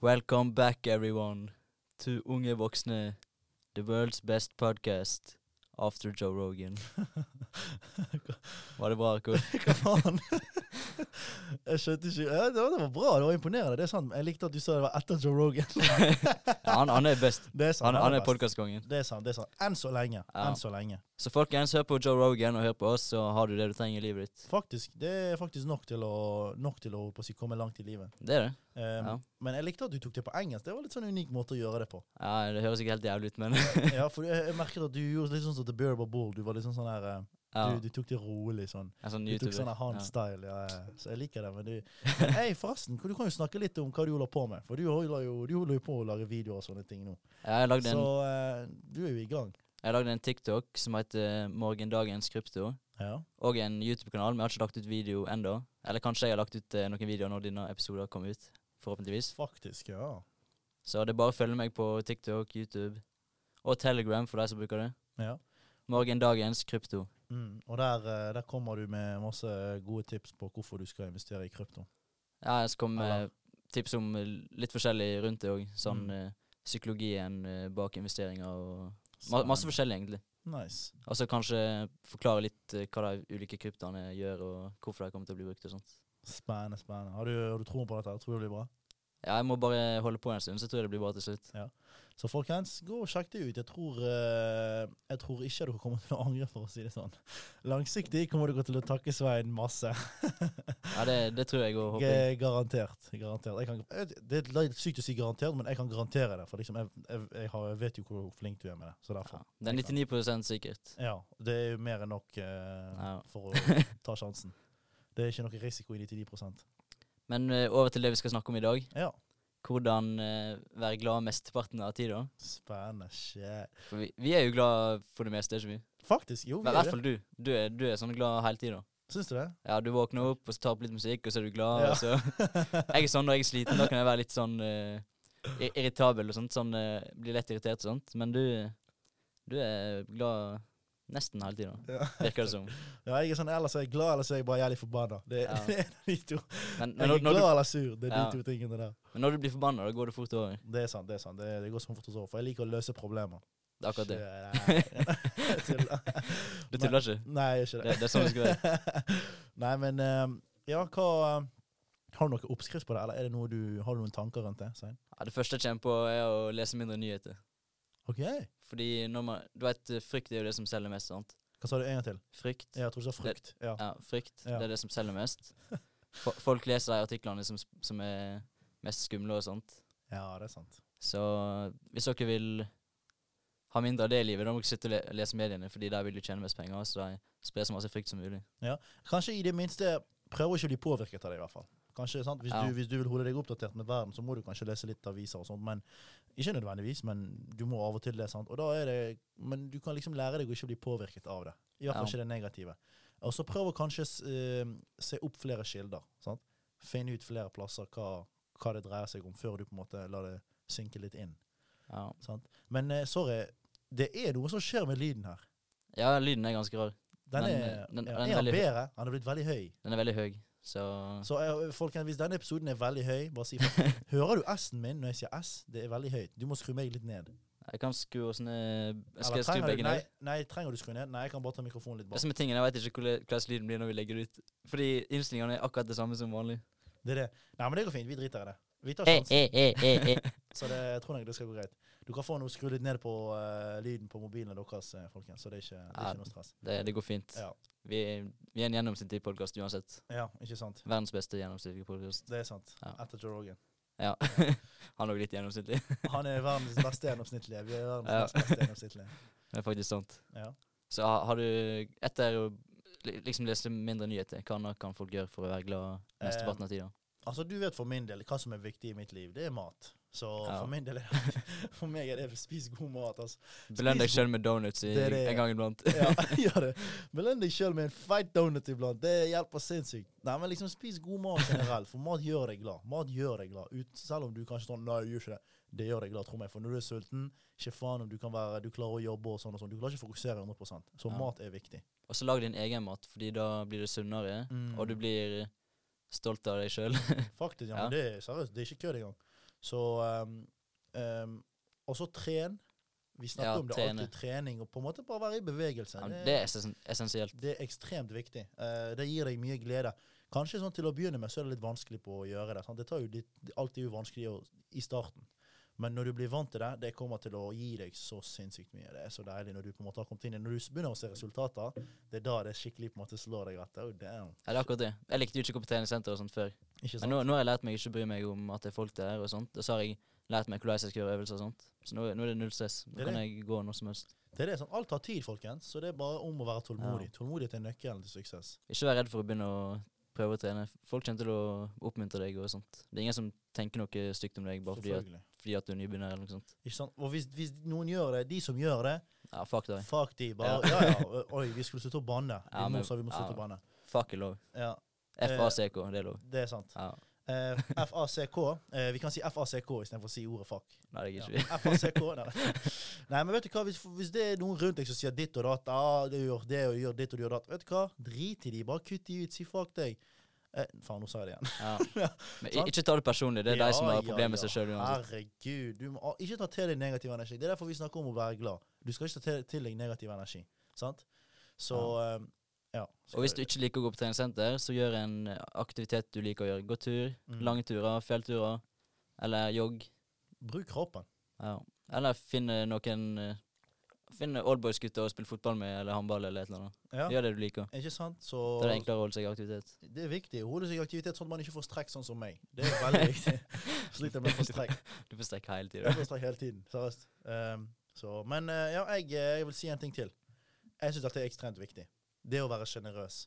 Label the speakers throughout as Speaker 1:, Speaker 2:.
Speaker 1: Welcome back, everyone, to Unge Voksne, the world's best podcast after Joe Rogan. Var det bra, Kurt?
Speaker 2: Hva faen? Jeg skjønte ikke ja, det, var, det var bra, det var imponerende. Det er sant. Jeg likte at du sa det var etter Joe Rogan.
Speaker 1: Han, han er best.
Speaker 2: Det er sant.
Speaker 1: Han, han er
Speaker 2: best.
Speaker 1: podcastkongen.
Speaker 2: Det er sant. det er sant. Enn så lenge.
Speaker 1: Ja.
Speaker 2: Enn så lenge.
Speaker 1: Så folkens, hør på Joe Rogan og hør på oss, så har du det du trenger i livet ditt.
Speaker 2: Faktisk, Det er faktisk nok til å, nok til å holdt på å si, komme langt i livet.
Speaker 1: Det er det.
Speaker 2: Ehm,
Speaker 1: Ja.
Speaker 2: Men jeg likte at du tok det på engelsk. Det var litt sånn unik måte å gjøre det på.
Speaker 1: Ja, Det høres ikke helt jævlig ut, men
Speaker 2: Ja, for jeg, jeg merket at du gjorde litt sånn som The Bearable Ball. Du var litt sånn sånn her eh,
Speaker 1: ja,
Speaker 2: du, du tok det rolig sånn.
Speaker 1: en sånn
Speaker 2: Du tok sånn
Speaker 1: YouTuber. Ja.
Speaker 2: han-style. Ja. ja. Så jeg liker det. Men du Men Hei, forresten, du kan jo snakke litt om hva du holder på med. For du holder jo, du holder jo på å lage videoer og sånne ting nå.
Speaker 1: Ja, jeg, lagde
Speaker 2: Så
Speaker 1: en,
Speaker 2: eh, du er jo i gang.
Speaker 1: jeg lagde en TikTok som heter Morgendagens krypto,
Speaker 2: Ja.
Speaker 1: og en YouTube-kanal, men jeg har ikke lagt ut video enda. Eller kanskje jeg har lagt ut eh, noen videoer når denne episoden kommer ut, forhåpentligvis.
Speaker 2: Faktisk, ja.
Speaker 1: Så det er bare å følge meg på TikTok, YouTube og Telegram for de som bruker det.
Speaker 2: ja.
Speaker 1: Morgendagens krypto.
Speaker 2: Mm. Og der, eh, der kommer du med masse gode tips på hvorfor du skal investere i krypto.
Speaker 1: Ja, jeg skal komme
Speaker 2: Eller?
Speaker 1: med tips om eh, litt forskjellig rundt det òg. Sånn
Speaker 2: Mm.
Speaker 1: eh, psykologien eh, bak investeringer og ma masse forskjellig, egentlig.
Speaker 2: Nice.
Speaker 1: Og så kanskje forklare litt eh, hva de ulike kryptoene gjør, og hvorfor de kommer til å bli brukt og sånt.
Speaker 2: Spennende, spennende. Har du, har du troen på dette? her? Tror du det blir bra?
Speaker 1: Ja, jeg må bare holde på en stund, så tror jeg det blir bra til slutt.
Speaker 2: Så folkens, gå og sjekk det ut. Jeg tror, eh, jeg tror ikke dere kommer til å angre, for å si det sånn. Langsiktig kommer dere til å takke Svein masse.
Speaker 1: Ja, det, det tror jeg og håper. jeg.
Speaker 2: G- eh, Garantert. garantert. Jeg kan, jeg- det er litt sykt å si garantert, men jeg kan garantere det. For liksom, jeg, jeg, jeg, har, jeg vet jo hvor flink du er med det. Så
Speaker 1: Ja,
Speaker 2: derfor.
Speaker 1: det er 99 sikkert.
Speaker 2: Ja, det er jo mer enn nok eh,
Speaker 1: Ja.
Speaker 2: for å ta sjansen. Det er ikke noe risiko i 99
Speaker 1: Men eh, over til det vi skal snakke om i dag.
Speaker 2: Ja.
Speaker 1: Hvordan eh, være glad mesteparten av tida.
Speaker 2: Spennende shit.
Speaker 1: For vi, vi er jo glad for det meste, er ikke vi?
Speaker 2: Faktisk, jo,
Speaker 1: Men I
Speaker 2: vi
Speaker 1: hvert
Speaker 2: er det.
Speaker 1: fall du. Du er, du er sånn glad hele tida.
Speaker 2: Syns du det?
Speaker 1: Ja, du våkner opp, og så tar du opp litt musikk, og så er du glad.
Speaker 2: Ja.
Speaker 1: Og så. Jeg er sånn når jeg er sliten, da kan jeg være litt sånn eh, ir- irritabel og sånt. Sånn, eh, blir lett irritert og sånt. Men du, du er glad nesten hele tida,
Speaker 2: Ja.
Speaker 1: virker det som.
Speaker 2: ja, jeg er sånn ellers er jeg glad, eller så er jeg bare jævlig forbanna. Det,
Speaker 1: Ja.
Speaker 2: det er de to.
Speaker 1: Men, men
Speaker 2: Jeg er
Speaker 1: når, når,
Speaker 2: glad eller sur. Det er
Speaker 1: Ja.
Speaker 2: de to tingene der.
Speaker 1: du, men når du blir forbanna, da går det fort over.
Speaker 2: Det er sant, det er sant. Det, det går som fort hos over. For jeg liker å løse problemer.
Speaker 1: Det er akkurat det.
Speaker 2: Shit, jeg tuller.
Speaker 1: Du tuller ikke?
Speaker 2: Nei, jeg gjør ikke
Speaker 1: Det, det er sånn det skal være.
Speaker 2: Nei, men ehm, ja, hva ehm, Har du noen oppskrift på det, eller er det noe du, har du noen tanker rundt det? Svein?
Speaker 1: Ja, det første jeg kommer på, er å lese mindre nyheter.
Speaker 2: OK. Hva
Speaker 1: Fordi når man, du vet, eh, frykt er jo det som selger mest, sant?
Speaker 2: sa du en gang til?
Speaker 1: Frykt.
Speaker 2: Ja, Jeg tror du sa frukt. Ja.
Speaker 1: Ja, frykt.
Speaker 2: Ja.
Speaker 1: Det er det som selger mest. Fo- Folk leser de artiklene som, som er mest skumle og sånt.
Speaker 2: ja, det er sant.
Speaker 1: Så hvis dere vil ha mindre av det i livet, da må dere slutte å le lese mediene, fordi der vil du tjene mest penger. Så de sprer så masse frykt som mulig.
Speaker 2: Kanskje i det minste prøve å ikke bli påvirket av det, i hvert fall. Kanskje, sant? Hvis,
Speaker 1: Ja.
Speaker 2: du, hvis du vil holde deg oppdatert med verden, så må du kanskje lese litt aviser og sånt. Men ikke nødvendigvis, men du må av og til det. sant? Og da er det, Men du kan liksom lære deg å ikke bli påvirket av det. I hvert
Speaker 1: Ja.
Speaker 2: fall ikke det negative. Og så prøv å kanskje s- eh, se opp flere kilder. sant? Finne ut flere plasser hva, hva det dreier seg om, før du på en måte lar det synke litt inn.
Speaker 1: Ja,
Speaker 2: sant? Men eh, sorry, det er noe som skjer med lyden her.
Speaker 1: ja lyden er ganske rar.
Speaker 2: Den
Speaker 1: Men,
Speaker 2: er,
Speaker 1: eh, den-
Speaker 2: ja,
Speaker 1: den er
Speaker 2: er han
Speaker 1: veldig høy.
Speaker 2: bedre? Han er blitt veldig høy.
Speaker 1: Den er veldig høy, så
Speaker 2: Så eh, folkens, hvis denne episoden er veldig høy, bare si fra. Hører du S-en min når jeg sier S? Det er veldig høyt. Du må skru meg litt ned.
Speaker 1: jeg kan skru oss ned Jeg skal
Speaker 2: Eller
Speaker 1: skru
Speaker 2: trenger du-
Speaker 1: begge ned.
Speaker 2: Nei, nei, trenger du skru ned? Nei, jeg kan bare ta mikrofonen litt
Speaker 1: Det
Speaker 2: bak.
Speaker 1: som er tingen, Jeg vet ikke hvordan hvordan lyden blir når vi legger det ut. Fordi innstillingene er akkurat det samme som vanlig.
Speaker 2: Det er det. Nei, men det går fint. Vi driter i det. Vi tar
Speaker 1: Eh,
Speaker 2: sjansen.
Speaker 1: eh, eh, eh, eh.
Speaker 2: Så det, jeg tror nok det skal gå greit. Du kan få noe skru litt ned på eh, lyden på mobilene deres, eh, folkens. Så det er ikke, det er
Speaker 1: Ja.
Speaker 2: ikke noe stress.
Speaker 1: Det, det går fint.
Speaker 2: Ja.
Speaker 1: Vi, vi er en gjennomsnittlig podkast uansett.
Speaker 2: Ja, ikke sant.
Speaker 1: Verdens beste gjennomsnittlige podkast.
Speaker 2: Det er sant.
Speaker 1: Ja.
Speaker 2: Etter Joe Rogan.
Speaker 1: Ja. Han er også litt gjennomsnittlig.
Speaker 2: Han er verdens beste gjennomsnittlige. Vi er verdens
Speaker 1: Ja.
Speaker 2: nest beste gjennomsnittlige.
Speaker 1: Det er faktisk sant.
Speaker 2: Ja.
Speaker 1: Så har, har du Etter å li- liksom lese mindre nyheter, hva annet kan folk gjøre for å være glad mesteparten av tida?
Speaker 2: Altså, du vet for min del hva som er viktig i mitt liv. Det er mat. Så
Speaker 1: Ja.
Speaker 2: for min del er det, For meg er det spis god mat, altså.
Speaker 1: Belønn deg sjøl med donuts i,
Speaker 2: Det er det,
Speaker 1: en
Speaker 2: ja.
Speaker 1: gang iblant.
Speaker 2: Ja, gjør det. Belønn deg sjøl med en feit donut iblant. Det hjelper sinnssykt. Nei, men liksom spis god mat generelt, for mat gjør deg glad. Mat gjør deg glad. Ut, selv om du kanskje sånn Nei, jeg gjør ikke det. Det gjør deg glad, tro meg. For når du er sulten, ikke faen om du kan være Du klarer å jobbe og sånn og sånn. Du klarer ikke å fokusere 100 Så
Speaker 1: Ja.
Speaker 2: mat er viktig.
Speaker 1: Og så lag din egen mat, fordi da blir det sunnere,
Speaker 2: Mm.
Speaker 1: og du blir stolt av deg sjøl.
Speaker 2: Faktisk. Ja, men det er seriøst. Det er ikke kødd engang. Så um, um, Og så tren. Vi snakker
Speaker 1: Ja,
Speaker 2: om det
Speaker 1: trene.
Speaker 2: alltid, trening, og på en måte bare være i bevegelse.
Speaker 1: Ja,
Speaker 2: Det-
Speaker 1: det er essen- essensielt.
Speaker 2: det er ekstremt viktig. Eh, det gir deg mye glede. Kanskje sånn til å begynne med så er det litt vanskelig på å gjøre det. Sant? Det tar jo litt, alt er jo vanskelig å, i starten. Men når du blir vant til det, det kommer til å gi deg så sinnssykt mye. Det er så deilig når du på en måte har kommet inn i Når du s- begynner å se resultater, det er da det skikkelig på en måte slår deg at oh damn.
Speaker 1: Ja, det er akkurat det. Jeg likte jo ikke å gå på treningssenter og sånt før. Men
Speaker 2: Ikke sant?
Speaker 1: nå, nå har jeg lært meg ikke å bry meg om at det er folk der og sånt. Og så har jeg lært meg hvordan jeg skal gjøre øvelser og sånt. Så nå, nå er det null stress.
Speaker 2: Det
Speaker 1: Nå
Speaker 2: er
Speaker 1: kan
Speaker 2: det.
Speaker 1: jeg gå når som helst.
Speaker 2: Det er det, sånn, alt tar tid, folkens, så det er bare om å være tålmodig. Tålmodighet er nøkkelen til suksess.
Speaker 1: Ikke vær redd for å begynne å prøve å trene. Folk kommer til å oppmuntre deg og sånt. Det er ingen som tenker noe stygt om deg bare fordi at,
Speaker 2: Selvfølgelig.
Speaker 1: fordi at du er nybegynner eller noe sånt.
Speaker 2: Ikke sant? Og hvis, hvis noen gjør det, de som gjør det,
Speaker 1: Ja, fuck det.
Speaker 2: fuck de. Bare, ja. ja, Oi, vi skulle slutte å banne.
Speaker 1: Ja,
Speaker 2: vi
Speaker 1: men-
Speaker 2: må, sa vi må
Speaker 1: ja.
Speaker 2: slutte å banne.
Speaker 1: Fuck er lov.
Speaker 2: Ja, Eh,
Speaker 1: FACK, det er lov.
Speaker 2: det er sant.
Speaker 1: Ja,
Speaker 2: Eh, FACK. Eh, vi kan si FACK istedenfor å si ordet fuck.
Speaker 1: nei, det
Speaker 2: Ja.
Speaker 1: gidder ikke vi.
Speaker 2: FACK, nei. nei, men vet du hva, hvis, hvis det er noen rundt deg som sier ditt og datt, ah, du gjør det og du gjør ditt og du gjør datt, vet du hva, drit i de, bare kutt de ut, si fuck deg. Eh, faen, nå sa jeg det igjen.
Speaker 1: Ja. Men i-
Speaker 2: Sant?
Speaker 1: ikke ta det personlig. Det er de som
Speaker 2: Ja,
Speaker 1: har
Speaker 2: ja,
Speaker 1: problemer med
Speaker 2: ja.
Speaker 1: seg sjøl uansett.
Speaker 2: Herregud, du må ah, ikke ta til deg negativ energi. Det er derfor vi snakker om å være glad. Du skal ikke ta til, til deg negativ energi, sant? Så eh, ja.
Speaker 1: Og hvis du ikke liker å gå på treningssenter, så gjør en aktivitet du liker å gjøre. Gå tur,
Speaker 2: Mm.
Speaker 1: lange turer, fjellturer, eller jogg.
Speaker 2: Bruk kroppen.
Speaker 1: Ja. Eller finne noen eh, Finne oldboys-gutter å spille fotball med, eller håndball, eller et eller annet.
Speaker 2: Ja,
Speaker 1: Gjør det du liker.
Speaker 2: ikke sant? Så
Speaker 1: Da er det enklere å holde seg i aktivitet.
Speaker 2: Det er viktig. Holde seg i aktivitet sånn at man ikke får strekk, sånn som meg. Det er veldig viktig. Sliter med å få strekk.
Speaker 1: Du får strekke hele
Speaker 2: Jeg
Speaker 1: tida.
Speaker 2: får strekk hele tiden. Seriøst. Um, så, men eh, ja, jeg, eh, jeg vil si en ting til. Jeg syns dette er ekstremt viktig. Det å være sjenerøs.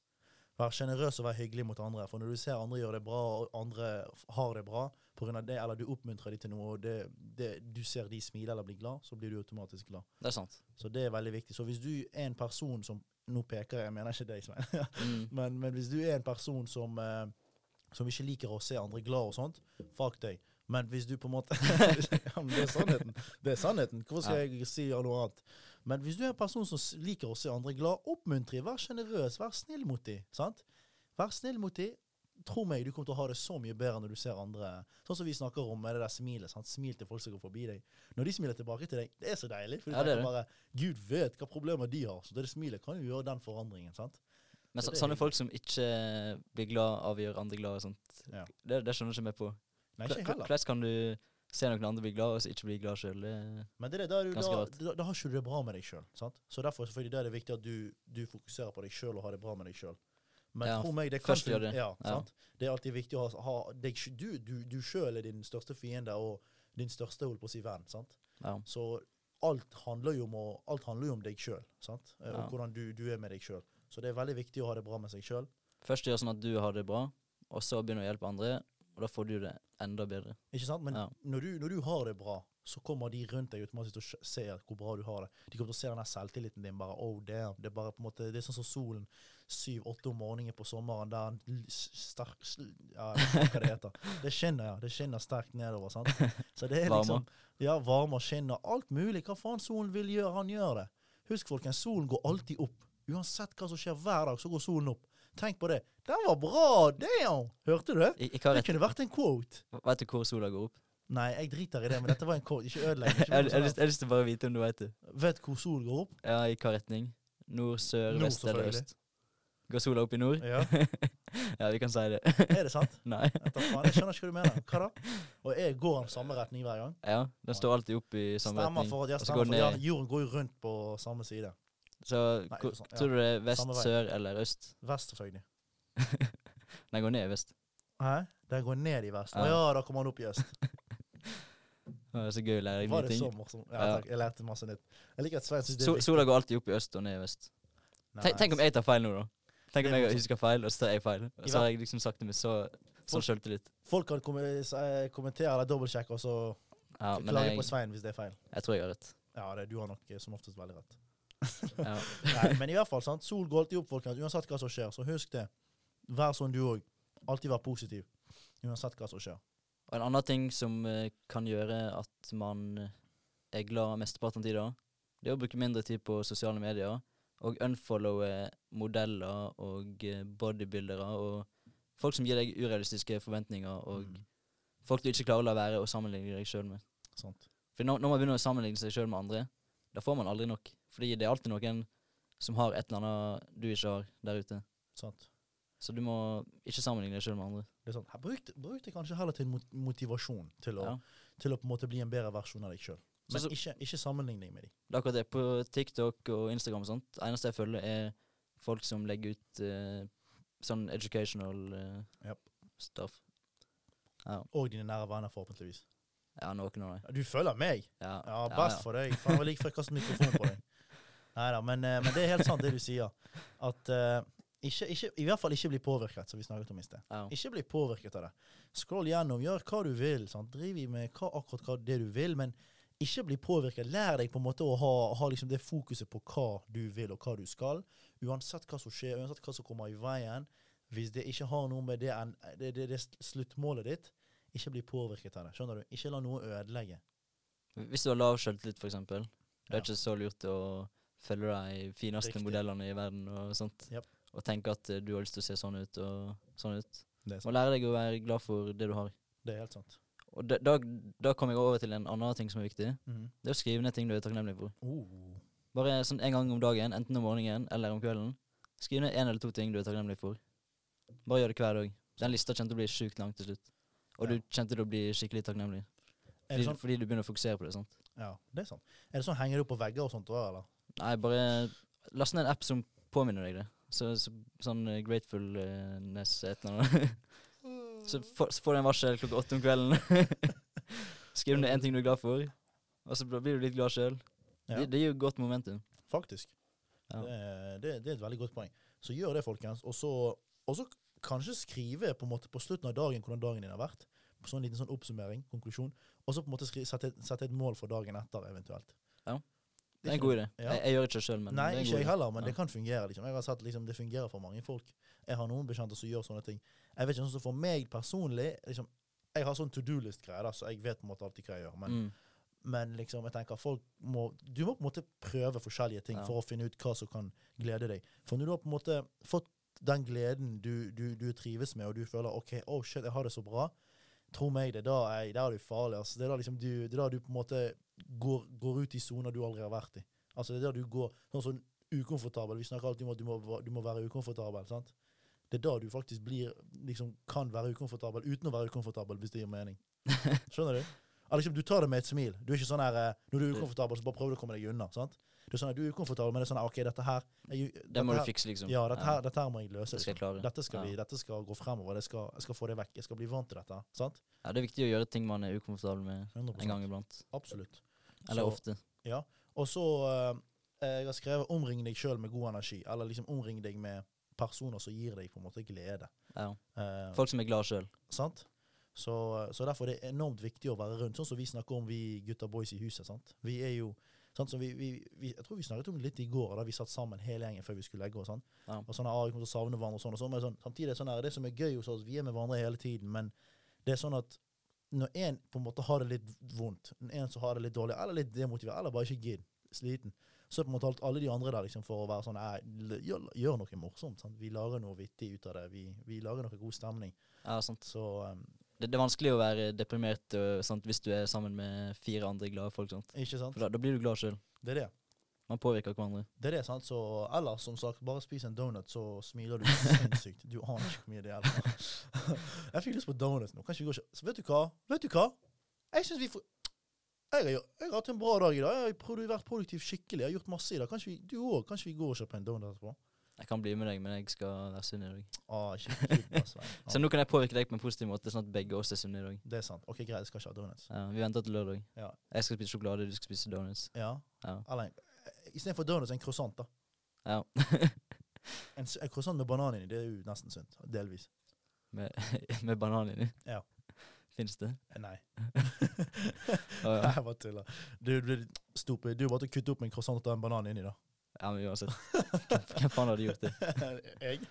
Speaker 2: Vær sjenerøs og vær hyggelig mot andre. For når du ser andre gjør det bra, og andre f- har det bra på grunn av det, eller du oppmuntrer dem til noe, og det, det, du ser de smile eller bli glad, så blir du automatisk glad.
Speaker 1: Det er sant.
Speaker 2: Så det er veldig viktig. Så hvis du er en person som Nå peker jeg, jeg mener ikke deg, Svein.
Speaker 1: Mm.
Speaker 2: Men, men hvis du er en person som, eh, som ikke liker å se andre glad og sånt, fuck deg. Men hvis du på en måte ja, men Det er sannheten. Det er sannheten. Hvorfor skal jeg si noe annet? Men hvis du er en person som s- liker å se andre glad, oppmuntre dem. Vær sjenerøs. Vær snill mot dem. Sant? Vær snill mot dem. Tro meg, du kommer til å ha det så mye bedre når du ser andre Sånn som vi snakker om med det der smilet. Sant? Smil til folk som går forbi deg. Når de smiler tilbake til deg, det er så deilig. For du
Speaker 1: Ja, det er
Speaker 2: tenker bare Gud vet hva problemer de har. Så det smilet kan jo gjøre den forandringen. sant?
Speaker 1: Men så,
Speaker 2: Så det er
Speaker 1: sånne
Speaker 2: hyggelig.
Speaker 1: folk som ikke blir glad av å gjøre andre glad og sånt,
Speaker 2: Ja.
Speaker 1: det, det skjønner ikke jeg med på.
Speaker 2: Nei, ikke jeg heller.
Speaker 1: Hvordan kan du se noen andre bli glad, og så ikke bli glad sjøl? Det
Speaker 2: Men det er det, da, er du,
Speaker 1: Ganske
Speaker 2: da,
Speaker 1: rått.
Speaker 2: da, da har ikke du det bra med deg sjøl. Så derfor selvfølgelig, da er det viktig at du, du fokuserer på deg sjøl og har det bra med deg sjøl. Men
Speaker 1: Ja,
Speaker 2: tro meg, det kan
Speaker 1: først gjør det.
Speaker 2: Ja,
Speaker 1: Ja.
Speaker 2: Sant? Det er alltid viktig å ha, ha deg, sj- Du, du, du sjøl er din største fiende og din største holdt på å si venn. Sant?
Speaker 1: ja.
Speaker 2: Så alt handler jo om, å, alt handler jo om deg sjøl, sant? Eh,
Speaker 1: Ja.
Speaker 2: og hvordan du, du er med deg sjøl. Så det er veldig viktig å ha det bra med seg sjøl.
Speaker 1: Først gjør sånn at du har det bra, og så begynner å hjelpe andre, og da får du det enda bedre.
Speaker 2: Ikke sant? Men
Speaker 1: Ja.
Speaker 2: når, du, når du har det bra, så kommer de rundt deg automatisk til å skj- se hvor bra du har det. De kommer til å se den der selvtilliten din bare oh damn. Det er bare på en måte, det er sånn som solen syv-åtte om morgenen på sommeren der den l- s- sterk, s- ja, jeg vet ikke hva det heter. Det skinner, ja. Det skinner sterkt nedover. sant? Så det er liksom ja, varme og skinner. Alt mulig. Hva faen solen vil gjøre, han gjør det. Husk, folkens, solen går alltid opp. Uansett hva som skjer hver dag, så går solen opp. Tenk på det. Den var bra! Damn! Hørte du det?
Speaker 1: I- Ikke har
Speaker 2: Det
Speaker 1: rett.
Speaker 2: kunne vært en quote.
Speaker 1: Vet du hvor sola går opp?
Speaker 2: Nei, jeg driter i det, men dette var en kort. Ikke ødelegg.
Speaker 1: Jeg
Speaker 2: Ikke
Speaker 1: jeg
Speaker 2: noe
Speaker 1: har
Speaker 2: sånt
Speaker 1: lyst jeg har lyst til å bare vite om du vet det.
Speaker 2: her. Vet hvor solen går opp?
Speaker 1: Ja, i hva retning? Nord, sør, vest
Speaker 2: Nord,
Speaker 1: eller
Speaker 2: selvfølgelig.
Speaker 1: øst? Går sola opp i nord?
Speaker 2: Ja,
Speaker 1: Ja, vi kan si det.
Speaker 2: Er det sant?
Speaker 1: Nei.
Speaker 2: Etter faen, Jeg skjønner ikke hva du mener. Hva da? Og jeg går den samme retning hver gang?
Speaker 1: Ja, den står alltid opp i samme
Speaker 2: Stemmer
Speaker 1: retning.
Speaker 2: for at ja,
Speaker 1: og så
Speaker 2: stemmer
Speaker 1: går
Speaker 2: for, ja,
Speaker 1: ned.
Speaker 2: jorden går jo rundt på samme side.
Speaker 1: Så
Speaker 2: Nei,
Speaker 1: hvor-
Speaker 2: for sånn, ja.
Speaker 1: tror du det er vest,
Speaker 2: Samme vei.
Speaker 1: sør eller øst?
Speaker 2: Vest, selvfølgelig.
Speaker 1: Den går ned i vest.
Speaker 2: Hæ? Den går ned i vest. Å
Speaker 1: Ja.
Speaker 2: ja, da kommer den opp i øst.
Speaker 1: Å, Det er så gøy å lære deg
Speaker 2: Var
Speaker 1: nye
Speaker 2: det så
Speaker 1: ting.
Speaker 2: morsomt? Ja,
Speaker 1: Ja.
Speaker 2: takk. Jeg lærte masse nytt. Jeg liker at Svein syns det
Speaker 1: Sol,
Speaker 2: er
Speaker 1: sola går alltid opp i øst og ned i vest. Tenk- Tenk om jeg tar feil nå, da. Tenk om
Speaker 2: Det er
Speaker 1: jeg
Speaker 2: morsomt.
Speaker 1: husker feil, og så tar jeg feil. Og
Speaker 2: I
Speaker 1: så har jeg liksom sagt det med så, sånn
Speaker 2: Folk-
Speaker 1: sjøltillit.
Speaker 2: Folk kan kom- eh, kommentere eller dobbeltsjekke, og så
Speaker 1: Ja, men
Speaker 2: klage
Speaker 1: jeg,
Speaker 2: på Svein hvis det er feil.
Speaker 1: jeg tror jeg har rett.
Speaker 2: Ja, det, du har nok eh, som oftest veldig rett.
Speaker 1: Ja.
Speaker 2: Nei, men i hvert fall, sant? sol går alltid opp, folkens. Uansett hva som skjer, så husk det. Vær sånn du òg. Alltid vær positiv. Uansett hva som skjer.
Speaker 1: Og en annen ting som eh, kan gjøre at man eh, er glad mesteparten av tida, det er å bruke mindre tid på sosiale medier og unfollowe modeller og eh, bodybuildere og folk som gir deg urealistiske forventninger og
Speaker 2: Mm.
Speaker 1: Folk du ikke klarer å la være å sammenligne deg sjøl med.
Speaker 2: Sant.
Speaker 1: For når, når man begynner å sammenligne seg sjøl med andre, da får man aldri nok. Fordi det er alltid noen som har et eller annet du ikke har der ute.
Speaker 2: Sant.
Speaker 1: Så du må ikke sammenligne deg sjøl med andre.
Speaker 2: Det er sant. Her Bruk, det- bruk det kanskje heller til mot- motivasjon til å,
Speaker 1: Ja.
Speaker 2: til å på en måte bli en bedre versjon av deg sjøl. Men
Speaker 1: Så- så-
Speaker 2: ikke, ikke sammenlign deg med dem.
Speaker 1: Det er akkurat det. På TikTok og Instagram og sånt, eneste jeg følger, er folk som legger ut eh, sånn educational eh,
Speaker 2: Japp.
Speaker 1: stuff.
Speaker 2: Og dine nære venner, forhåpentligvis.
Speaker 1: Ja, noen av dem.
Speaker 2: Ja, Du følger meg?
Speaker 1: Ja,
Speaker 2: Ja, best for deg. Faen, jeg var like før jeg kastet mikrofonen på deg. Neida, men, eh, men det er helt sant det du sier. At eh, ikke, ikke, I hvert fall ikke bli påvirket, som vi snakket om i sted.
Speaker 1: Ja.
Speaker 2: Ikke bli påvirket av det. Scroll gjennom, gjør hva du vil. Sant? Driv i med hva, akkurat hva det du vil, men ikke bli påvirket. Lær deg på en måte å ha, ha liksom det fokuset på hva du vil og hva du skal. Uansett hva som skjer, uansett hva som kommer i veien. Hvis det ikke har noe med det, en- det, det, det sluttmålet ditt, ikke bli påvirket av det. Skjønner du? Ikke la noe ødelegge.
Speaker 1: Hvis du har lav selvtillit, for eksempel, det
Speaker 2: Ja.
Speaker 1: er ikke så lurt å følge de fineste
Speaker 2: Riktig.
Speaker 1: modellene i verden og sånt.
Speaker 2: Japp.
Speaker 1: Og tenke at eh, du har lyst til å se sånn ut og sånn ut.
Speaker 2: Det er
Speaker 1: Og lære deg å være glad for det du har.
Speaker 2: Det er helt sant.
Speaker 1: Og da, da, da kom jeg over til en annen ting som er viktig.
Speaker 2: Mhm.
Speaker 1: Det er å skrive ned ting du er takknemlig for.
Speaker 2: Oh,
Speaker 1: Bare sånn en gang om dagen, enten om morgenen eller om kvelden. Skriv ned en eller to ting du er takknemlig for. Bare gjør det hver dag. Den lista kommer til å bli sjukt lang til slutt. Og
Speaker 2: Ja.
Speaker 1: du kommer til å bli skikkelig takknemlig.
Speaker 2: er
Speaker 1: Fordi,
Speaker 2: det sånn?
Speaker 1: fordi du begynner å fokusere på det. sant?
Speaker 2: Ja, det er sånn. Er det sånn henger du på vegger og sånt òg, eller?
Speaker 1: Nei, bare last ned en app som påminner deg det. Så, så, sånn eh, gratefulness et eller annet. så, får- så får du en varsel klokka åtte om kvelden. Skriv ned én ting du er glad for, og så blir du litt glad sjøl.
Speaker 2: Ja.
Speaker 1: Det, det gir jo godt momentum.
Speaker 2: Faktisk.
Speaker 1: Ja.
Speaker 2: Det, er- det, det er et veldig godt poeng. Så gjør det, folkens. Og så, og så kanskje skrive på, en måte på slutten av dagen hvordan dagen din har vært. På sånn liten sånn oppsummering, konklusjon. Og så på en måte skri, sette, et- sette et mål for dagen etter, eventuelt.
Speaker 1: Ja. Det
Speaker 2: Det
Speaker 1: er
Speaker 2: er
Speaker 1: en god idé.
Speaker 2: Ja.
Speaker 1: Jeg, jeg gjør ikke det sjøl, men
Speaker 2: Nei,
Speaker 1: det er en
Speaker 2: ikke
Speaker 1: god
Speaker 2: jeg
Speaker 1: idé.
Speaker 2: heller, men
Speaker 1: Ja.
Speaker 2: det kan fungere. liksom. Jeg har sett liksom, Det fungerer for mange folk. Jeg har noen bekjente som gjør sånne ting. Jeg vet ikke, sånn som For meg personlig liksom, Jeg har sånn to do-list-greier, da, så jeg vet på en måte alltid hva jeg gjør. Men
Speaker 1: Mm.
Speaker 2: Men liksom, jeg tenker folk må, du må på en måte prøve forskjellige ting
Speaker 1: Ja.
Speaker 2: for å finne ut hva som kan glede deg. For når du har på en måte fått den gleden du, du, du trives med, og du føler OK, oh shit, jeg har det så bra, tro meg, det er da jeg, der er du farlig. Altså. Det, er da liksom du, det er da du på en måte går, går ut i soner du aldri har vært i. Altså Det er da du går sånn sånn ukomfortabel. Vi snakker alltid om at du må, va- du må være ukomfortabel. sant? Det er da du faktisk blir, liksom, kan være ukomfortabel uten å være ukomfortabel, hvis det gir mening. Skjønner du? Ja, liksom, du tar det med et smil. Du er ikke sånn her, eh,
Speaker 1: Mm.
Speaker 2: Når du er ukomfortabel, så bare prøver du å komme deg unna. sant? Det er sånn at Du er ukomfortabel, men det er sånn her, OK, dette her jeg,
Speaker 1: Det må
Speaker 2: dette
Speaker 1: du
Speaker 2: her-
Speaker 1: fikse, liksom.
Speaker 2: Ja, dette her, dette her må jeg løse.
Speaker 1: Det skal jeg
Speaker 2: Liksom.
Speaker 1: klare.
Speaker 2: Dette skal,
Speaker 1: Ja.
Speaker 2: vi, dette skal gå fremover. Jeg skal, jeg skal få det vekk. Jeg skal bli vant til dette. sant?
Speaker 1: Ja, det er viktig å gjøre ting man er ukomfortabel med
Speaker 2: 100
Speaker 1: en gang iblant.
Speaker 2: Absolutt.
Speaker 1: Eller
Speaker 2: Så-
Speaker 1: ofte.
Speaker 2: Og så eh, Jeg har skrevet 'omring deg sjøl med god energi'. Eller liksom omring deg med personer som gir deg på en måte glede.
Speaker 1: Ja.
Speaker 2: Eh,
Speaker 1: Folk som er glad sjøl.
Speaker 2: Sant? Så, så derfor er det enormt viktig å være rundt. Sånn som vi snakker om, vi gutta boys i huset. sant? Vi er jo, sant? Så vi, vi, vi, Jeg tror vi snakket om det litt i går, da vi satt sammen hele gjengen før vi skulle legge oss. sant?
Speaker 1: Ja.
Speaker 2: Og sånn, ah, vi kommer til å savne hverandre og sånn. og sånn, men sånn samtidig er det sånn her, det som er gøy hos oss, vi er med hverandre hele tiden, men det er sånn at når en på en måte har det litt vondt, en som har det litt dårlig, eller litt demotivert, eller bare ikke gidd, sliten, så er på en måte alt- alle de andre der liksom for å være sånn «Nei, l- gjør, gjør noe morsomt. sant? Vi lager noe vittig ut av det. Vi, vi lager noe god stemning.
Speaker 1: Ja, sant.
Speaker 2: Så um,
Speaker 1: Det, det er vanskelig å være deprimert og, sant, hvis du er sammen med fire andre glade folk. Sant?
Speaker 2: Ikke sant?
Speaker 1: For da, da blir du glad sjøl.
Speaker 2: Det er det.
Speaker 1: Man påvirker hverandre.
Speaker 2: Det er det, sant? Så ellers, som sagt, bare spis en donut, så smiler du sinnssykt. Du aner ikke hvor mye det hjelper. Jeg fikk lyst på donut nå. Kanskje vi går ikke Så vet du hva? Vet du hva? Jeg syns vi får jeg har, jo- jeg har hatt en bra dag i dag. Jeg har produ- vært produktiv skikkelig. Jeg har gjort masse i dag. Kanskje vi, du òg? Kanskje vi går og kjøper en donut etterpå?
Speaker 1: Jeg kan bli med deg, men jeg skal være sunn i dag.
Speaker 2: Ah, skikkelig kult, ass, venn.
Speaker 1: Så nå kan jeg påvirke deg på en positiv måte, sånn at begge oss er sunne i dag.
Speaker 2: Ja, Ah, det er sant. Ok, greit, jeg skal ikke ha donuts.
Speaker 1: Ja, vi venter til lørdag.
Speaker 2: Ja.
Speaker 1: Jeg skal spise sjokolade, du skal spise donuts.
Speaker 2: Ja.
Speaker 1: Ja.
Speaker 2: Eller istedenfor donuts, en croissant, da.
Speaker 1: ja.
Speaker 2: En, s- en croissant med banan inni, det er jo nesten sunt. Delvis.
Speaker 1: Med, med banan inni.
Speaker 2: Ja.
Speaker 1: Fins det?
Speaker 2: Eh, Nei.
Speaker 1: Å,
Speaker 2: Nei,
Speaker 1: ja.
Speaker 2: jeg bare tuller. Du, du, stupid. du er bare til å kutte opp med en croissant og ta en banan inni, da.
Speaker 1: ja, men uansett. Hvem, hvem faen hadde gjort det?
Speaker 2: jeg?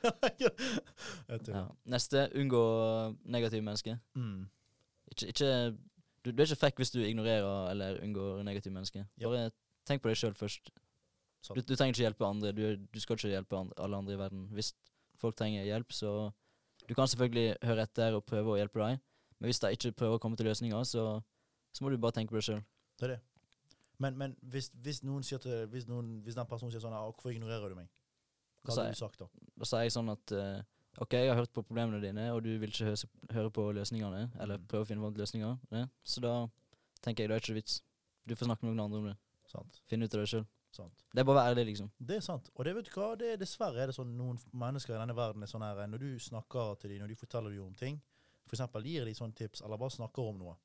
Speaker 2: jeg tuller.
Speaker 1: Ja. Neste unngå øh, negative mennesker.
Speaker 2: Mm.
Speaker 1: Ikke, ikke du, du er ikke frekk hvis du ignorerer eller unngår negative mennesker.
Speaker 2: Ja. Sånn.
Speaker 1: Bare tenk på deg sjøl først.
Speaker 2: Sant.
Speaker 1: Du, du trenger ikke hjelpe andre. Du, du skal ikke hjelpe andre, alle andre i verden. Hvis folk trenger hjelp, så Du kan selvfølgelig høre etter og prøve å hjelpe deg, Men hvis de ikke prøver å komme til løsninger, så, så må du bare tenke på det sjøl.
Speaker 2: Det er det. Men, men hvis, hvis noen sier til hvis, noen, hvis den personen sier sånn «Ah, 'Hvorfor ignorerer du meg?' Hva
Speaker 1: Så
Speaker 2: hadde
Speaker 1: jeg-
Speaker 2: du sagt da?
Speaker 1: Da sier jeg sånn at eh, OK, jeg har hørt på problemene dine, og du vil ikke høse, høre på løsningene, eller
Speaker 2: Mm.
Speaker 1: prøve å finne fram til løsninger, ja. så da tenker jeg det er ikke vits. Du får snakke med noen andre om det.
Speaker 2: Sant,
Speaker 1: Finne ut av det sjøl.
Speaker 2: sant.
Speaker 1: Det er bare å være ærlig, liksom.
Speaker 2: Det er sant. Og det vet du hva, det er dessverre er det sånn noen f- mennesker i denne verden er sånn her Når du snakker til dem, når de forteller dem om ting, for eksempel gir de sånn tips, eller bare snakker om noe,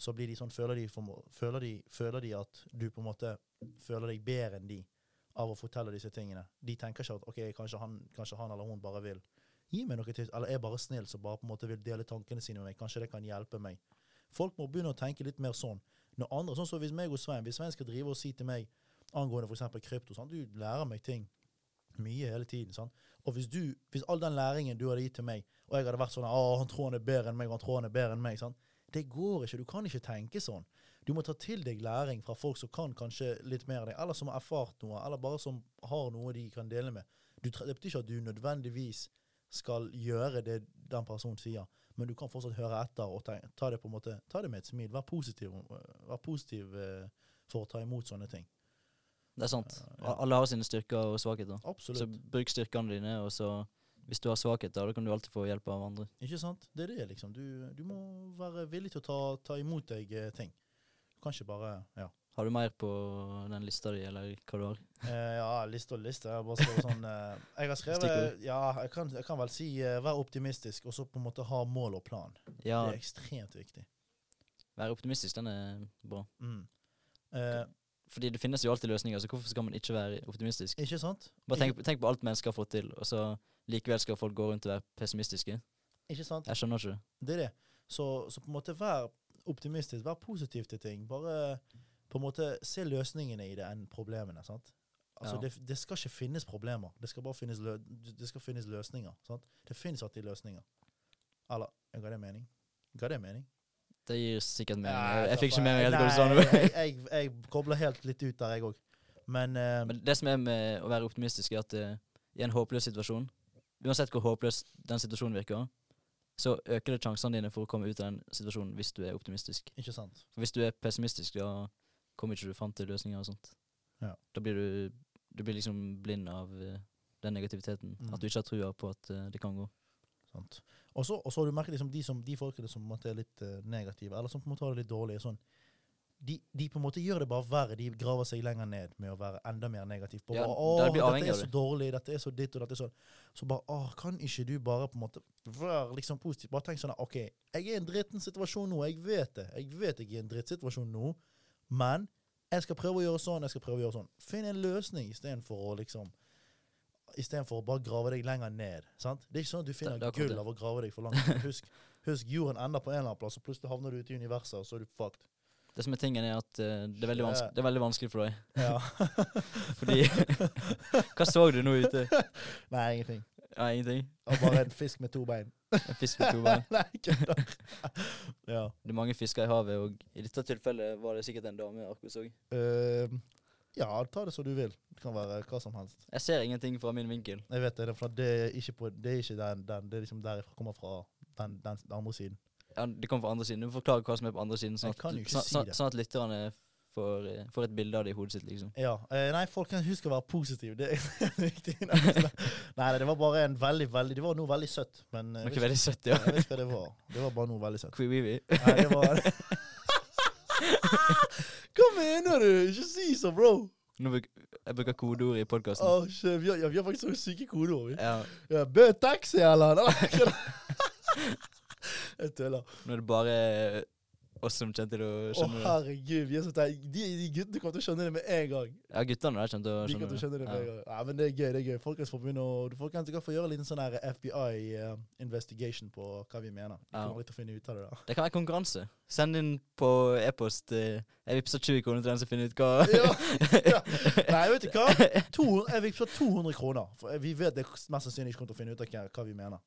Speaker 2: så blir de sånn, føler de, for, må- føler de, føler de at du på en måte føler deg bedre enn de av å fortelle disse tingene. De tenker ikke at OK, kanskje han, kanskje han eller hun bare vil gi meg noe tips, eller er bare snill som bare på en måte vil dele tankene sine med meg. Kanskje det kan hjelpe meg. Folk må begynne å tenke litt mer sånn. Når andre, sånn som hvis meg og Svein, hvis Svein skal drive og si til meg angående for eksempel krypto. Sant? Du lærer meg ting mye hele tiden. Sant? Og hvis, du, hvis all den læringen du hadde gitt til meg, og jeg hadde vært sånn Å, han tror han er bedre enn meg, og han tror han er bedre enn meg. Sant? Det går ikke. Du kan ikke tenke sånn. Du må ta til deg læring fra folk som kan kanskje litt mer enn deg, eller som har erfart noe, eller bare som har noe de kan dele med. Du, tre- det betyr ikke at du nødvendigvis skal gjøre det den personen sier, men du kan fortsatt høre etter og tenke, ta, det på en måte, ta det med et smil. Vær positiv, øh, vær positiv øh, for å ta imot sånne ting.
Speaker 1: Det er sant.
Speaker 2: Ja, ja.
Speaker 1: A- Alle har sine styrker og svakheter.
Speaker 2: Absolutt.
Speaker 1: Så bruk styrkene dine, og så hvis du har svakheter, da kan du alltid få hjelp av andre.
Speaker 2: Ikke sant? Det er det, liksom. Du, du må være villig til å ta, ta imot deg eh, ting. Du kan ikke bare Ja,
Speaker 1: Har du mer på den lista di, eller hva du har?
Speaker 2: eh, ja liste og liste. Jeg, har bare skrevet sånn, eh, jeg har skrevet
Speaker 1: Stikkord.
Speaker 2: Ja, jeg kan, jeg kan vel si eh, vær optimistisk, og så på en måte ha mål og plan.
Speaker 1: Ja,
Speaker 2: Det er ekstremt viktig.
Speaker 1: vær optimistisk, den er bra.
Speaker 2: Mm. Eh,
Speaker 1: Fordi det finnes jo alltid løsninger, så hvorfor skal man ikke være optimistisk?
Speaker 2: ikke sant?
Speaker 1: Bare tenk, tenk på alt mennesker har fått til, og så likevel skal folk gå rundt og være pessimistiske.
Speaker 2: Ikke sant?
Speaker 1: Jeg skjønner ikke.
Speaker 2: Det er det. Så, så på en måte vær optimistisk, vær positiv til ting. Bare på en måte se løsningene i det enn problemene. sant? Altså,
Speaker 1: Ja.
Speaker 2: det, det skal ikke finnes problemer, det skal bare finnes, lø det skal finnes løsninger. sant? Det finnes alltid løsninger. Eller ga det mening? Ga det mening?
Speaker 1: Det gir sikkert mening.
Speaker 2: Nei, altså,
Speaker 1: Jeg, jeg fikk ikke med meg helt hva du sa
Speaker 2: nei,
Speaker 1: nå.
Speaker 2: jeg, jeg, jeg kobler helt litt ut der, jeg òg. Men, eh,
Speaker 1: Men det som er med å være optimistisk, er at eh, i en håpløs situasjon, uansett hvor håpløs den situasjonen virker, så øker det sjansene dine for å komme ut av den situasjonen hvis du er optimistisk.
Speaker 2: ikke sant.
Speaker 1: For hvis du er pessimistisk, da kommer ikke du fram til løsninger og sånt.
Speaker 2: Ja.
Speaker 1: Da blir du, du blir liksom blind av eh, den negativiteten.
Speaker 2: Mm.
Speaker 1: At du ikke har trua på at eh, det kan gå.
Speaker 2: Sant. Og så og så har du merket liksom, de, som, de folkene som på en måte er litt eh, negative, eller som på en måte har det litt dårlig, er sånn, de, de på en måte gjør det bare verre. De graver seg lenger ned med å være enda mer negativ. På
Speaker 1: Ja,
Speaker 2: bare,
Speaker 1: der
Speaker 2: Åh,
Speaker 1: blir avhengig
Speaker 2: dette er
Speaker 1: av
Speaker 2: så
Speaker 1: det.»
Speaker 2: dårlig, dette er så ditt og dette er sånn. Så bare Åh, kan ikke du bare på en måte være liksom positiv? Bare tenk sånn OK, jeg er i en dritten situasjon nå. Jeg vet det. Jeg vet jeg er i en drittsituasjon nå, men jeg skal prøve å gjøre sånn, jeg skal prøve å gjøre sånn. Finn en løsning istedenfor å liksom Istedenfor å bare grave deg lenger ned. sant? Det er ikke sånn at du finner
Speaker 1: Da- da kom
Speaker 2: gull
Speaker 1: det.
Speaker 2: av å grave deg for langt. ned. Husk, husk jorden ender på en eller annen plass, og plutselig havner du ute i universet, og så er du fucked.
Speaker 1: Det som er tingen, er at eh, det, er veldig
Speaker 2: Ja.
Speaker 1: vanskelig, det er veldig vanskelig for deg.
Speaker 2: Ja.
Speaker 1: Fordi Hva så du nå ute?
Speaker 2: Nei, ingenting.
Speaker 1: Ja, ingenting?
Speaker 2: Og bare en fisk med to bein.
Speaker 1: En fisk med to bein.
Speaker 2: Nei, kødder. ja.
Speaker 1: Det er mange fisker i havet, og i dette tilfellet var det sikkert en dame Arkus òg.
Speaker 2: Ehm, ja, ta det som du vil. Det kan være hva som helst.
Speaker 1: Jeg ser ingenting fra min vinkel.
Speaker 2: Jeg vet det, det, er fra- det er ikke, på, det er ikke den, den, det er liksom derifra kommer fra den, den, den andre siden.
Speaker 1: Ja, det kommer fra andre siden. Du må forklare hva som er på andre siden, sånn
Speaker 2: Jeg kan jo
Speaker 1: at,
Speaker 2: ikke
Speaker 1: sånn,
Speaker 2: si
Speaker 1: sånn,
Speaker 2: det.
Speaker 1: sånn at lytterne får, eh, får et bilde av det i hodet sitt, liksom.
Speaker 2: Ja, eh, Nei, folkens, husk å være positiv. Det er viktig. Nei, nei, det var bare en veldig, veldig Det var noe veldig søtt. Men eh,
Speaker 1: Det er ikke
Speaker 2: jeg vet ikke-
Speaker 1: veldig søtt, ja.
Speaker 2: jeg vet ikke hva det var. Det var bare noe veldig søtt.
Speaker 1: Kwiwiwi.
Speaker 2: Nei, det var Hva mener du? Ikke si så, bro.
Speaker 1: Nå bruk, jeg bruker kodeord i podkasten.
Speaker 2: Åh, shit, vi, har, ja, vi har faktisk sånne syke kodeord. vi.
Speaker 1: Ja,
Speaker 2: Ja, Bø taxi, eller? Nei, jeg kødder. Jeg tuller.
Speaker 1: nå er det bare eh, oss som kommer til å
Speaker 2: Å,
Speaker 1: skjønne det.
Speaker 2: herregud. Vi er så teit. De, de guttene kommer til å skjønne det med en gang.
Speaker 1: Ja, guttene der kommer til å
Speaker 2: De kommer til å skjønne det med
Speaker 1: Sånn
Speaker 2: en
Speaker 1: Ja.
Speaker 2: gang. Nei, men det er gøy. det er gøy. Folkens får begynne å... Folkens kan få gjøre en liten sånn her FBI-investigation eh, på hva vi mener. Vi
Speaker 1: Ja.
Speaker 2: kommer litt til å finne ut av det da.
Speaker 1: Det kan være konkurranse. Send inn på e-post. eh, Jeg vippser 20 kroner til den som finner ut hva
Speaker 2: Ja. Ja. Nei, vet du hva? 200, jeg vippser 200 kroner. For vi vet det mest sannsynlig ikke kommer til å finne ut av hva, hva vi mener.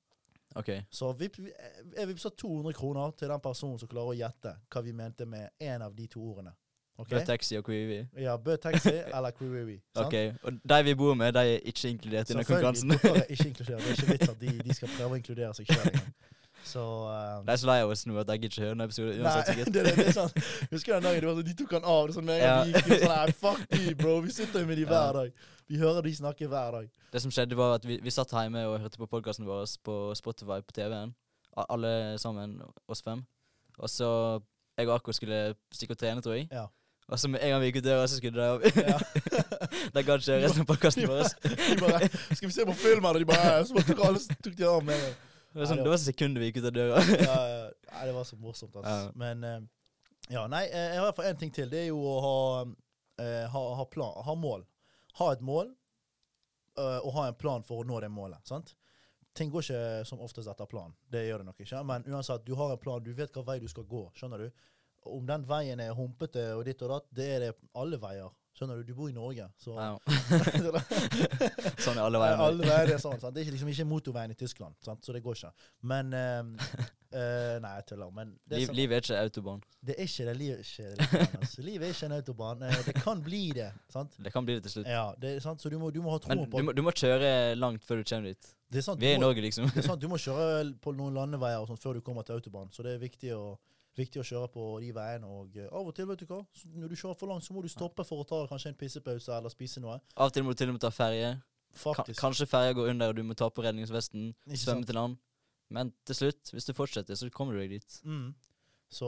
Speaker 1: OK.
Speaker 2: Så vipp, jeg vippser 200 kroner til den personen som klarer å gjette hva vi mente med en av de to ordene. Ok?
Speaker 1: Bø taxi og Kwiwiwi.
Speaker 2: Ja, Bø taxi eller Kwiwiwi. sant?
Speaker 1: Ok, Og de vi bor med, de er ikke inkludert i denne
Speaker 2: Selvfølgelig,
Speaker 1: konkurransen.
Speaker 2: dere er ikke inkludert. Det er ikke vits at de, de skal prøve å inkludere seg sjøl. Så eh,
Speaker 1: Jeg er så lei av oss nå at jeg gidder ikke høre noen episode uansett.
Speaker 2: Nei,
Speaker 1: sikkert.
Speaker 2: det, det, det er sant. Husker du den dagen det var sånn, de tok han av? Det, sånn, ja.
Speaker 1: Ja.
Speaker 2: gikk, ut, sånn, nei, fuck de, bro. Vi sitter jo med de
Speaker 1: Ja.
Speaker 2: hver dag. Vi hører de snakke hver dag.
Speaker 1: Det som skjedde, var at vi, vi satt hjemme og hørte på podkasten vår på Spotify på TV-en. A- Alle sammen, oss fem. Og så Jeg og Akko skulle stikke og trene, tror jeg.
Speaker 2: Ja.
Speaker 1: Og så med en gang vi gikk ut døra, så skulle de opp.
Speaker 2: Ja.
Speaker 1: De gadd ikke resten av podkasten
Speaker 2: De
Speaker 1: vår.
Speaker 2: bare, de bare, Skal vi se på film, eller? De bare, ja, så bare tok, alle, så tok de av med en gang.
Speaker 1: Det var, sånn,
Speaker 2: Nei, det
Speaker 1: det var sekundet vi gikk ut av døra.
Speaker 2: Ja, ja. Nei, det var så morsomt, altså.
Speaker 1: Ja.
Speaker 2: Men eh, ja, nei, eh, jeg har i hvert fall én ting til. Det er jo å ha, eh, ha, ha plan, ha mål. Ha et mål, eh, og ha en plan for å nå det målet. sant? Ting går ikke som oftest etter planen. Det gjør det nok ikke. Men uansett, du har en plan, du vet hvilken vei du skal gå. skjønner du? Om den veien er humpete og ditt og datt, det er det alle veier. Skjønner du? Du bor i Norge, så
Speaker 1: Ja. Sånn er alle veier. nå.
Speaker 2: alle veier er sånn. Sant? Det er ikke, liksom ikke motorveien i Tyskland, sant? så det går ikke. Men eh, eh, Nei, jeg tuller. Men det, sånn
Speaker 1: Liv,
Speaker 2: som,
Speaker 1: livet er ikke autobahn.
Speaker 2: det er ikke det livet ikke det livet, altså. Livet er ikke en autobahn. Eh, det kan bli det. sant?
Speaker 1: Det kan bli det til slutt.
Speaker 2: Ja, det er sant? Så du må, du må ha troen
Speaker 1: Men
Speaker 2: på
Speaker 1: du må, du må kjøre langt før du kommer dit.
Speaker 2: det er sant,
Speaker 1: Vi er i
Speaker 2: du må,
Speaker 1: Norge, liksom.
Speaker 2: det er sant, du må kjøre på noen landeveier og sånt før du kommer til autobahn, så det er viktig å, viktig å kjøre på de veiene. Og eh, av og til, vet du hva, så når du kjører for langt, så må du stoppe for å ta kanskje en pissepause eller spise noe.
Speaker 1: Av og til må du til og med ta ferje. Ka-
Speaker 2: Faktisk.
Speaker 1: Kanskje ferja går under, og du må ta på redningsvesten,
Speaker 2: Ikke sant?
Speaker 1: svømme til land. Men til slutt, hvis du fortsetter, så kommer du deg dit.
Speaker 2: Mm. Så,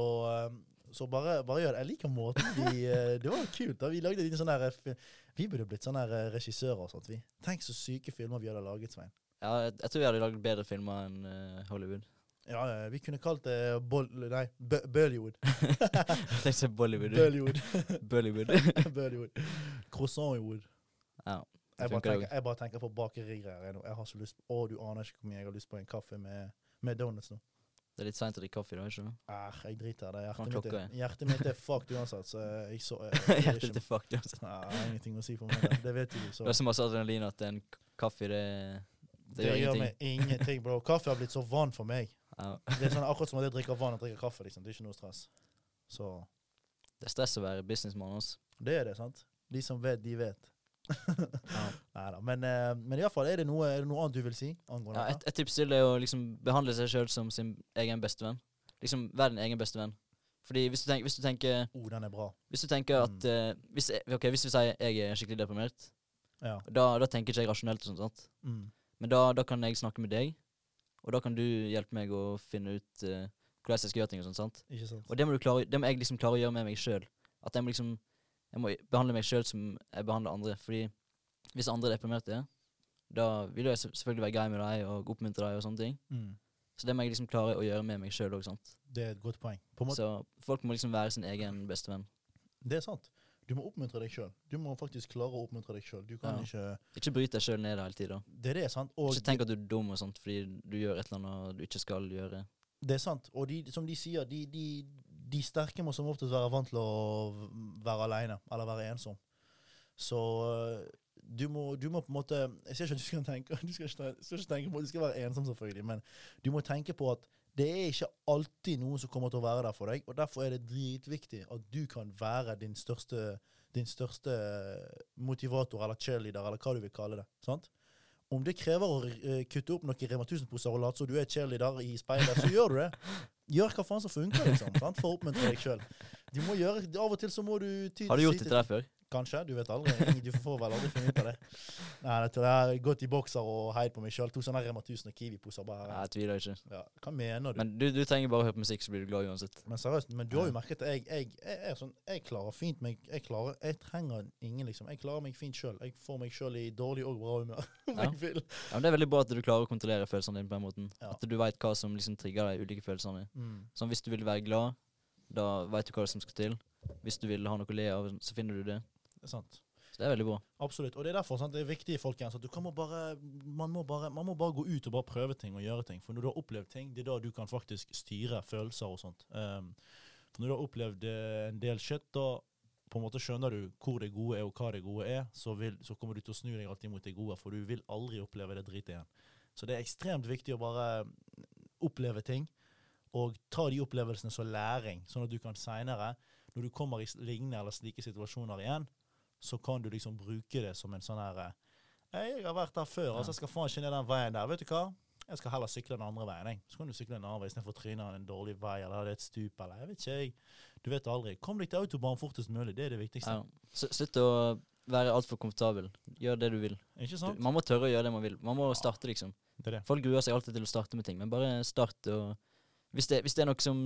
Speaker 2: um, så bare, bare gjør det. Jeg liker måten vi eh, Det var jo kult. da Vi lagde en liten sånn her eh, fi- Vi burde blitt sånne her eh, regissører og sånt. vi. Tenk så syke filmer vi hadde laget, Svein.
Speaker 1: Ja, jeg, jeg tror vi hadde lagd bedre filmer enn eh, Hollywood.
Speaker 2: Ja, ja, Vi kunne kalt det Boll... Nei, Bø- Bollywood.
Speaker 1: Jeg tenkte å si Bollywood.
Speaker 2: Bollywood.
Speaker 1: Bollywood.
Speaker 2: Bollywood. Croissantwood.
Speaker 1: Ja,
Speaker 2: Jeg bare,
Speaker 1: funker jo.
Speaker 2: tenker, jeg bare tenker på bakerigreier jeg nå. Jeg har så lyst Å, du aner ikke hvor mye jeg har lyst på en kaffe med, med donuts nå.
Speaker 1: Det er litt seint å drikke kaffe i dag, ikke sant?
Speaker 2: Æh, jeg driter i det.
Speaker 1: Faen,
Speaker 2: Hjertet mitt,
Speaker 1: klokka
Speaker 2: er,
Speaker 1: er.
Speaker 2: hjertet mitt er fucked uansett, så jeg så jeg, jeg, jeg,
Speaker 1: Hjertet til fuck, du. altså.
Speaker 2: Nei, jeg har ingenting å si for meg. da. Det vet du, så
Speaker 1: Det er så masse adrenalin at en k- kaffe, det
Speaker 2: det, gjør meg ingenting, bro. Kaffe har blitt så vann for meg.
Speaker 1: ja,
Speaker 2: Det er sånn akkurat som at jeg drikker vann og drikker kaffe. liksom. Det er ikke noe stress. Så
Speaker 1: Det er stress å være businessmann, altså.
Speaker 2: det er det, sant? De som vet, de vet.
Speaker 1: Ja.
Speaker 2: Neida, Men, eh, men iallfall, er, det noe- er det noe annet du vil si angående
Speaker 1: Ja,
Speaker 2: ja,
Speaker 1: et, et tips til er å liksom behandle seg sjøl som sin egen bestevenn. Liksom være din egen bestevenn. Fordi hvis du tenker, hvis du tenker,
Speaker 2: Oh, den er bra.
Speaker 1: hvis du tenker at eh, hvis, jeg- ok, hvis vi sier jeg er skikkelig deprimert,
Speaker 2: Ja.
Speaker 1: da, da tenker ikke jeg rasjonelt og sånt. sant?
Speaker 2: Mm.
Speaker 1: Men da, da kan jeg snakke med deg, og da kan du hjelpe meg å finne ut eh, hvordan jeg skal gjøre ting og sånt. sant?
Speaker 2: Ikke sant?
Speaker 1: Og det må, du klare, det må jeg liksom klare å gjøre med meg sjøl. At jeg må liksom Jeg må behandle meg sjøl som jeg behandler andre. Fordi hvis andre er deprimerte, da vil jeg selv- selvfølgelig være grei med deg og oppmuntre deg og sånne ting.
Speaker 2: Mm.
Speaker 1: Så det må jeg liksom klare å gjøre med meg sjøl òg, sant.
Speaker 2: Det er et godt poeng. På en måte,
Speaker 1: Så folk må liksom være sin egen bestevenn.
Speaker 2: det er sant. Du må oppmuntre deg sjøl. Du må faktisk klare å oppmuntre deg sjøl. Du kan
Speaker 1: Ja.
Speaker 2: ikke
Speaker 1: Ikke bryt deg sjøl ned hele tida.
Speaker 2: Det er det, sant? Og
Speaker 1: Ikke tenk at du er dum og sånt fordi du gjør et eller annet du ikke skal gjøre.
Speaker 2: Det er sant. Og de, som de sier, de, de, de sterke må som oftest være vant til å v- være alene, eller være ensom. Så øh, du må, du må på en måte Jeg sier ikke at du skal tenke, du skal ikke, ten- skal ikke tenke på at du skal være ensom, selvfølgelig, men du må tenke på at det er ikke alltid noen som kommer til å være der for deg, og derfor er det dritviktig at du kan være din største, din største motivator eller cheerleader, eller hva du vil kalle det. sant? Om det krever å eh, kutte opp noen Rema 1000-poser og late som du er cheerleader i speilet, så gjør du det. Gjør hva faen som funker, liksom, sant? for å oppmuntre deg sjøl. Av og til så må du ty
Speaker 1: Har du gjort
Speaker 2: si til-
Speaker 1: dette der før?
Speaker 2: Kanskje. Du vet aldri. Ingen- Du får vel aldri finne ut av det. Nei, jeg tror jeg har gått i bokser og heid på meg sjøl. To sånne Rema 1000 og Kiwi-poser. bare
Speaker 1: Nei,
Speaker 2: her.
Speaker 1: jeg tviler ikke.
Speaker 2: Ja, hva mener du? Men,
Speaker 1: Men du, du trenger bare å høre på musikk, så blir du glad uansett.
Speaker 2: seriøst, men du har jo merket at jeg, jeg, jeg, er sånn, jeg klarer fint meg Jeg klarer, jeg trenger ingen, liksom. Jeg klarer meg fint sjøl. Jeg får meg sjøl i dårlig og bra humør. om
Speaker 1: Ja.
Speaker 2: jeg vil.
Speaker 1: Ja, men Det er veldig bra at du klarer å kontrollere følelsene dine på den måten.
Speaker 2: Ja.
Speaker 1: At du veit hva som liksom trigger de ulike følelsene.
Speaker 2: Mm.
Speaker 1: Sånn, hvis du vil være glad, da veit du hva som skal til. Hvis du vil ha noe å le av, så finner du det.
Speaker 2: Det er sant.
Speaker 1: Så det er veldig bra.
Speaker 2: Absolutt. Og det er derfor sant, det er viktig folkens, at du kan må bare, man, må bare, man må bare gå ut og bare prøve ting og gjøre ting. For når du har opplevd ting, det er da du kan faktisk styre følelser og sånt. Um, for når du har opplevd eh, en del shit, da på en måte skjønner du hvor det gode er og hva det gode er, så, vil, så kommer du til å snu deg alltid mot det gode, for du vil aldri oppleve det dritet igjen. Så det er ekstremt viktig å bare oppleve ting, og ta de opplevelsene som læring, sånn at du kan seinere, når du kommer i s- lignende eller slike situasjoner igjen, så kan du liksom bruke det som en sånn her eh, «Hei, Jeg har vært der før, altså jeg skal faen ikke ned den veien der. Vet du hva? Jeg skal heller sykle den andre veien. Jeg. Så kan du sykle en annen vei istedenfor å tryne en dårlig vei eller det er et stup eller jeg vet ikke. jeg. Du vet aldri. Kom deg til autobahn fortest mulig. Det er det viktigste.
Speaker 1: Ja. S- Slutt å være altfor komfortabel. Gjør det du vil.
Speaker 2: Ikke
Speaker 1: Du,
Speaker 2: sant?
Speaker 1: man må tørre å gjøre det man vil. Man må starte, liksom.
Speaker 2: Det er det.
Speaker 1: Folk gruer seg alltid til å starte med ting, men bare start. og Hvis det, hvis det er noe som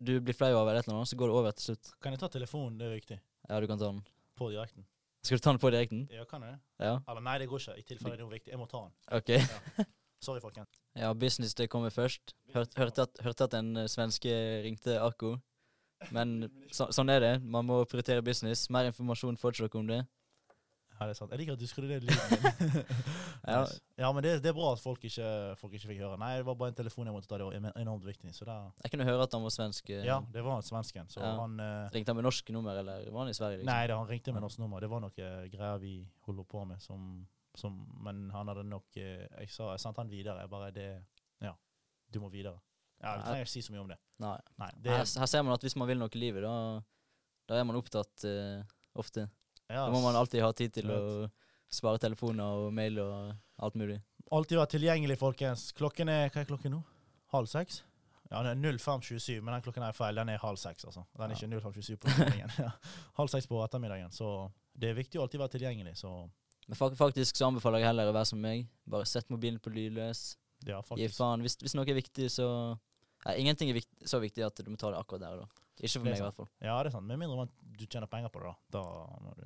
Speaker 1: du blir flau av, eller et eller annet, så går det over til slutt.
Speaker 2: Kan jeg ta telefonen? Det er viktig.
Speaker 1: Ja, du kan ta den.
Speaker 2: På direkten.
Speaker 1: Skal du ta den på direkten?
Speaker 2: Ja, kan jeg det?
Speaker 1: Ja,
Speaker 2: Eller nei, det går ikke. I tilfelle det er noe viktig. Jeg må ta den.
Speaker 1: ok.
Speaker 2: Sorry, folkens.
Speaker 1: Ja, business det kommer først. Hørt, hørte, at, hørte at en eh, svenske ringte Akko. Men så, sånn er det. Man må prioritere business. Mer informasjon får ikke dere om det.
Speaker 2: Ja, det er sant. Jeg liker at du skrudde ned lyden.
Speaker 1: Ja,
Speaker 2: Nice. ja, men det, det er bra at folk ikke, folk ikke fikk høre. Nei, det var bare en telefon jeg måtte ta. Det var enormt- enormt viktig. Så da,
Speaker 1: jeg kunne høre at han var svensk. eh,
Speaker 2: ja, det var en svensken. Så
Speaker 1: Ja.
Speaker 2: han eh,
Speaker 1: Ringte han med norsk nummer, eller var han i Sverige? Liksom?
Speaker 2: Nei, det, han ringte med norsk nummer. Det var noe eh, greier vi holder på med som, som Men han hadde nok eh, Jeg sa, jeg sendte han videre. Jeg bare det Ja, du må videre. Ja, Vi
Speaker 1: Ja.
Speaker 2: trenger ikke si så mye om det.
Speaker 1: Nei.
Speaker 2: Nei, det
Speaker 1: her, her ser man at hvis man vil noe i livet, da, da er man opptatt eh, ofte.
Speaker 2: ja,
Speaker 1: Da må man alltid ha tid til å
Speaker 2: Vet.
Speaker 1: svare telefoner og mail og alt mulig.
Speaker 2: alltid være tilgjengelig, folkens. Klokken er Hva er klokken nå? Halv seks? Ja, den er 05.27, men den klokken er feil. Den er halv seks, altså. Den er
Speaker 1: Ja.
Speaker 2: ikke 05.27 på morgenen. Ja. halv seks på ettermiddagen. Så det er viktig å alltid være tilgjengelig. Så
Speaker 1: Men fak faktisk så anbefaler jeg heller å være som meg. Bare sett mobilen på lydløs.
Speaker 2: ja,
Speaker 1: Gi
Speaker 2: faktisk.
Speaker 1: faen. Hvis, hvis noe er viktig, så Nei, ingenting er vikt- så viktig at du må ta det akkurat der og da. Ikke for
Speaker 2: Det er
Speaker 1: meg, i hvert fall.
Speaker 2: Ja, det er sant. Med mindre man, du tjener penger på det, da. Da må du,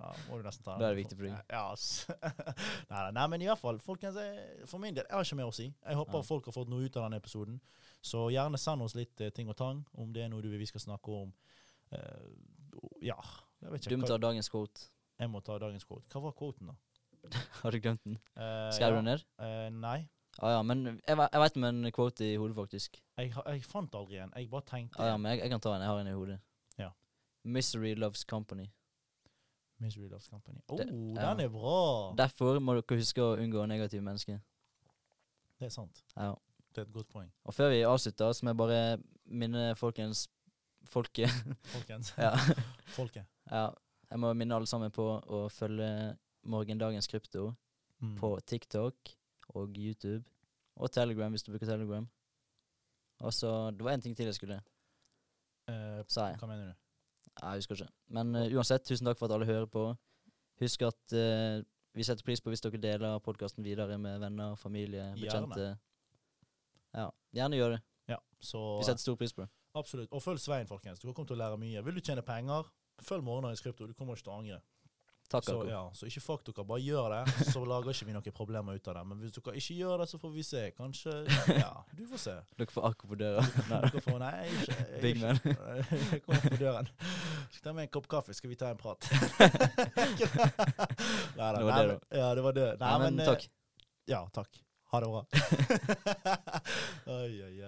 Speaker 2: da må du nesten ta
Speaker 1: Da er det viktig for deg.
Speaker 2: Ja, ass. nei, nei, nei, men i hvert fall, folkens, jeg, for min del, jeg har ikke mer å si. Jeg håper
Speaker 1: Nei.
Speaker 2: folk har fått noe ut av denne episoden. Så gjerne send oss litt eh, ting og tang, om det er noe du vil vi skal snakke om. Eh, ja, jeg vet ikke.
Speaker 1: Du må
Speaker 2: hva-
Speaker 1: ta dagens quote.
Speaker 2: Jeg må ta dagens quote. Hva var quoten, da?
Speaker 1: Har du glemt den?
Speaker 2: Eh,
Speaker 1: Skrev du
Speaker 2: ja.
Speaker 1: den ned?
Speaker 2: Eh, nei.
Speaker 1: Ah, ja, men jeg, ve- jeg veit med en quote i hodet, faktisk.
Speaker 2: Jeg, ha- jeg fant aldri en. Jeg bare tenkte
Speaker 1: Ah, ja, men jeg, jeg kan ta en. Jeg har en i hodet.
Speaker 2: Ja.
Speaker 1: Misery loves company.
Speaker 2: Misery Loves Company. Oh,
Speaker 1: Det- ja.
Speaker 2: den er bra! Det,
Speaker 1: Derfor må dere huske å unngå negative mennesker.
Speaker 2: er sant.
Speaker 1: Ja.
Speaker 2: Det er et godt poeng,
Speaker 1: Og før vi avslutter, så må jeg bare minne folkens folket
Speaker 2: folkens.
Speaker 1: ja.
Speaker 2: Folket.
Speaker 1: ja. Jeg må minne alle sammen på å følge Morgendagens krypto
Speaker 2: Mm.
Speaker 1: på TikTok og YouTube og Telegram, hvis du bruker Telegram. Og så Det var én ting til jeg skulle
Speaker 2: Eh,
Speaker 1: si. Nei,
Speaker 2: hva mener du?
Speaker 1: Jeg husker ikke. Men eh, uansett, tusen takk for at alle hører på. Husk at eh, vi setter pris på hvis dere deler podkasten videre med venner, familie,
Speaker 2: Gjerne.
Speaker 1: bekjente. Ja, gjerne gjør det.
Speaker 2: Ja, så
Speaker 1: Vi setter stor pris på det.
Speaker 2: absolutt. Og følg Svein, folkens. Du kommer til å lære mye. Vil du tjene penger, følg Morgendagens krypto. Du kommer ikke til å angre.
Speaker 1: Takk,
Speaker 2: Så,
Speaker 1: Akko.
Speaker 2: ja, så ikke fuck dere. Bare gjør det, så lager ikke vi noen problemer ut av det. Men hvis dere ikke gjør det, så får vi se. Kanskje Ja, du får se.
Speaker 1: Dere får Akko på døra. Nei.
Speaker 2: Dere får Nei, jeg er ikke jeg er
Speaker 1: Big
Speaker 2: ikke-
Speaker 1: man.
Speaker 2: Jeg kommer på døren. Skal ta med en kopp kaffe, skal vi ta en prat. Nei,
Speaker 1: Det var det,
Speaker 2: da. Ja, det var det. Nei,
Speaker 1: Nei, men
Speaker 2: eh,
Speaker 1: takk.
Speaker 2: Ja, takk. Ha det bra. oi, oi, oi.